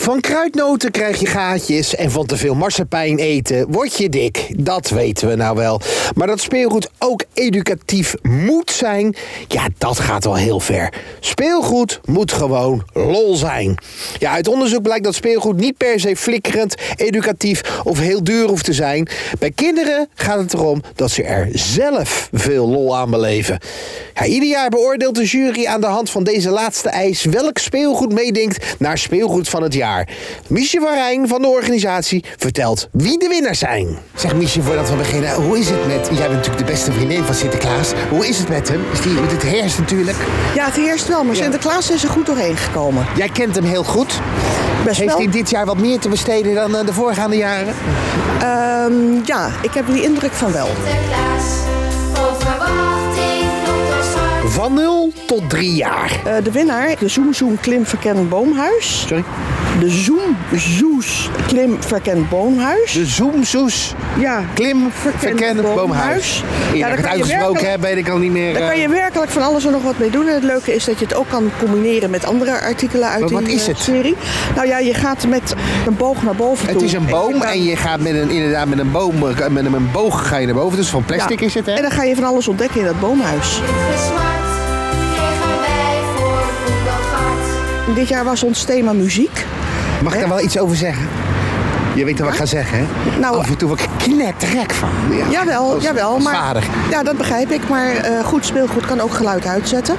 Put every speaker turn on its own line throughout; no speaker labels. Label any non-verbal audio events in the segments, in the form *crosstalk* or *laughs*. Van kruidnoten krijg je gaatjes en van te veel marsepein eten word je dik. Dat weten we nou wel. Maar dat speelgoed ook educatief moet zijn, ja, dat gaat wel heel ver. Speelgoed moet gewoon lol zijn. Ja, uit onderzoek blijkt dat speelgoed niet per se flikkerend, educatief of heel duur hoeft te zijn. Bij kinderen gaat het erom dat ze er zelf veel lol aan beleven. Ja, ieder jaar beoordeelt de jury aan de hand van deze laatste eis welk speelgoed meedinkt naar speelgoed van het jaar. Miesje van Rijn van de organisatie vertelt wie de winnaars zijn. Zeg Miesje, voordat we beginnen, hoe is het met... Jij bent natuurlijk de beste vriendin van Sinterklaas. Hoe is het met hem? Is die, want het heerst natuurlijk.
Ja, het heerst wel, maar Sinterklaas is er goed doorheen gekomen.
Jij kent hem heel goed.
Best
Heeft
wel.
hij dit jaar wat meer te besteden dan eh, de voorgaande jaren?
Ehm, ja, ik heb die indruk van wel.
Sinterklaas, vol verwachting loopt ons hart.
Van 0 tot 3 jaar.
Eh, de winnaar, de Zoom Zoom Klim Verkend Boomhuis.
Sorry?
De Zoom Zoes Klim Verkend Boomhuis.
De zoemzoes.
ja,
Klim, verkennen, boomhuis. Eerder
Ja,
ik
daar
het
kan, je
uitgesproken
werkelijk,
heb, weet ik al niet meer.
daar
eh,
kan je werkelijk van alles en nog wat mee doen. En het leuke is dat je het ook kan combineren met andere artikelen uit
Maar wat
die
is
eh,
het?
serie. Nou ja, je gaat met een boog naar boven
Het
toe.
is een
Ik
boom
vind dat-
en je gaat met een, inderdaad met een boom, eh, met een, een boog ga je naar boven. Dus van plastic
Ja.
is het, hè?
En dan ga je van alles ontdekken in dat boomhuis.
Lieve smart, kregen wij voor goed dat hart.
Dit jaar was ons thema muziek.
Mag ik daar wel iets over zeggen? Je weet wat ik ga zeggen, hè?
Nou,
Af en toe word ik knetterek van. Ja,
Jawel,
dat is-
jawel.
dat is
Maar,
vader.
Ja, dat begrijp ik. Maar eh, goed speelgoed kan ook geluid uitzetten.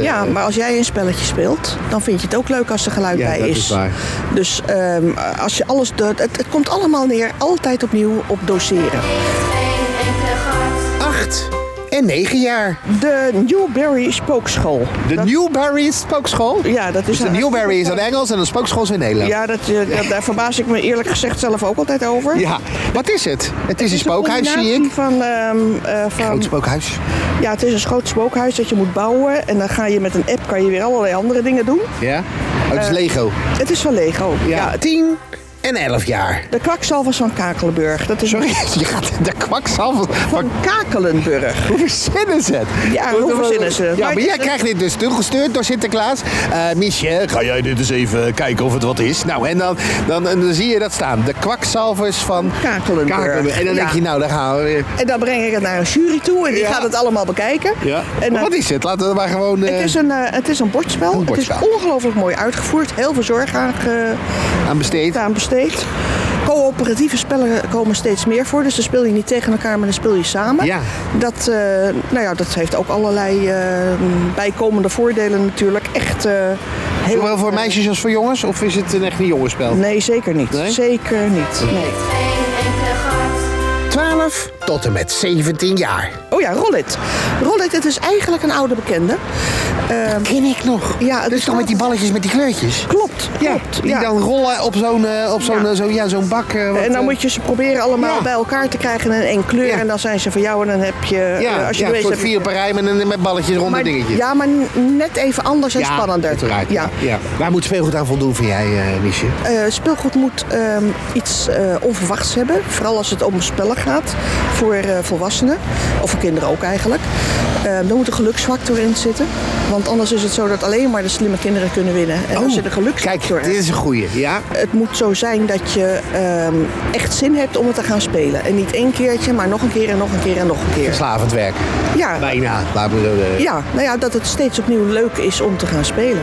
ja, maar als jij een spelletje speelt, dan vind je het ook leuk als er geluid
Ja,
bij
dat
is.
is waar.
Dus ehm, als je alles doet, het, het komt allemaal neer, altijd opnieuw op doseren.
Heeft geen enkele gat.
Acht en negen jaar.
De Newberry Spookschool.
De
Dat-
Newberry Spookschool.
Ja, dat is
Dus de
een-
Newberry is in Engels en de Spookschool is in Nederland.
Ja, dat, eh, dat- daar verbaas ik me eerlijk gezegd zelf ook altijd over.
Ja. Wat is het? Het is, een
Het is een
spookhuis, zie
combinatie
ik.
Van, ehm, eh, van,
Groot spookhuis.
ja, het is een groot spookhuis dat je moet bouwen. En dan ga je met een app kan je weer allerlei andere dingen doen.
Ja. Oh,
Eh,
het is Lego.
Het is van Lego. Ja.
Tien en elf jaar.
De kwakzalvers van Kakelenburg. Dat is
Sorry, *laughs* je gaat de kwakzalver. Maar
Van Kakelenburg.
hoe verzinnen ze het?
Ja, hoe verzinnen ze het?
Ja,
Maar
maar
het
jij
is een-
krijgt dit dus toegestuurd door Sinterklaas. Eh Miesje, ga jij dit eens even kijken of het wat is? Nou, en dan, dan, en dan zie je dat staan. De kwakzalvers van
Kakelenburg.
En dan denk
Ja.
je, nou, daar gaan we weer.
En dan breng ik het naar een jury toe en die
Ja.
gaat het allemaal bekijken.
Ja.
En
Maar
dan-
wat is het? Laten we maar gewoon... eh,
het is, een, eh, het is een bordspel.
Een
Het
bordspel.
is ongelooflijk mooi uitgevoerd. Heel veel zorg aan, ge-
aan besteed.
aan besteed. Coöperatieve spellen komen steeds meer voor. Dus dan speel je niet tegen elkaar, maar dan speel je samen.
Ja.
Dat, eh, nou ja, dat heeft ook allerlei eh, bijkomende voordelen natuurlijk. Echt eh, heel...
Zowel voor meisjes als voor jongens? Of is het een echt een jongensspel?
Nee, zeker niet.
Nee?
Zeker niet. Nee.
Heeft geen enkele gat.
12 tot en met 17 jaar.
Oh ja, Rollit. Rollit, het is eigenlijk een oude bekende. Ehm,
Ken ik nog.
Ja,
dat
het
is toch dus met die balletjes met die kleurtjes?
klopt, klopt.
die dan rollen op zo'n eh, op zo'n
Ja.
eh, zo'n- ja. zo'n bak. eh, wat,
En dan
eh,
moet je ze proberen allemaal
Ja.
bij elkaar te krijgen in één kleur.
Ja.
En dan zijn ze van jou en dan heb je...
Ja,
eh, als je
ja,
de
een
wees
soort
hebt-
vier per rij met, een- met balletjes rond
maar,
een dingetje.
Ja, maar net even anders en spannender.
Uiteraard,
ja.
ja. Ja. Waar moet speelgoed aan voldoen, vind jij, eh Miesje?
Eh, speelgoed moet ehm, iets eh, onverwachts hebben. Vooral als het om spellen gaat. Voor eh, volwassenen. Of voor kinderen ook eigenlijk. Ehm er moet een geluksfactor in zitten. Want anders is het zo dat alleen maar de slimme kinderen kunnen winnen. En als je de
Oh, kijk,
geluksfactor
dit
hebt-
is een goeie. Ja?
Het moet zo zijn dat je ehm, echt zin hebt om het te gaan spelen. En niet één keertje, maar nog een keer en nog een keer en nog een keer.
Slavend werk.
Ja.
Bijna. Laat me zo eh, de...
Ja, nou ja, dat het steeds opnieuw leuk is om te gaan spelen.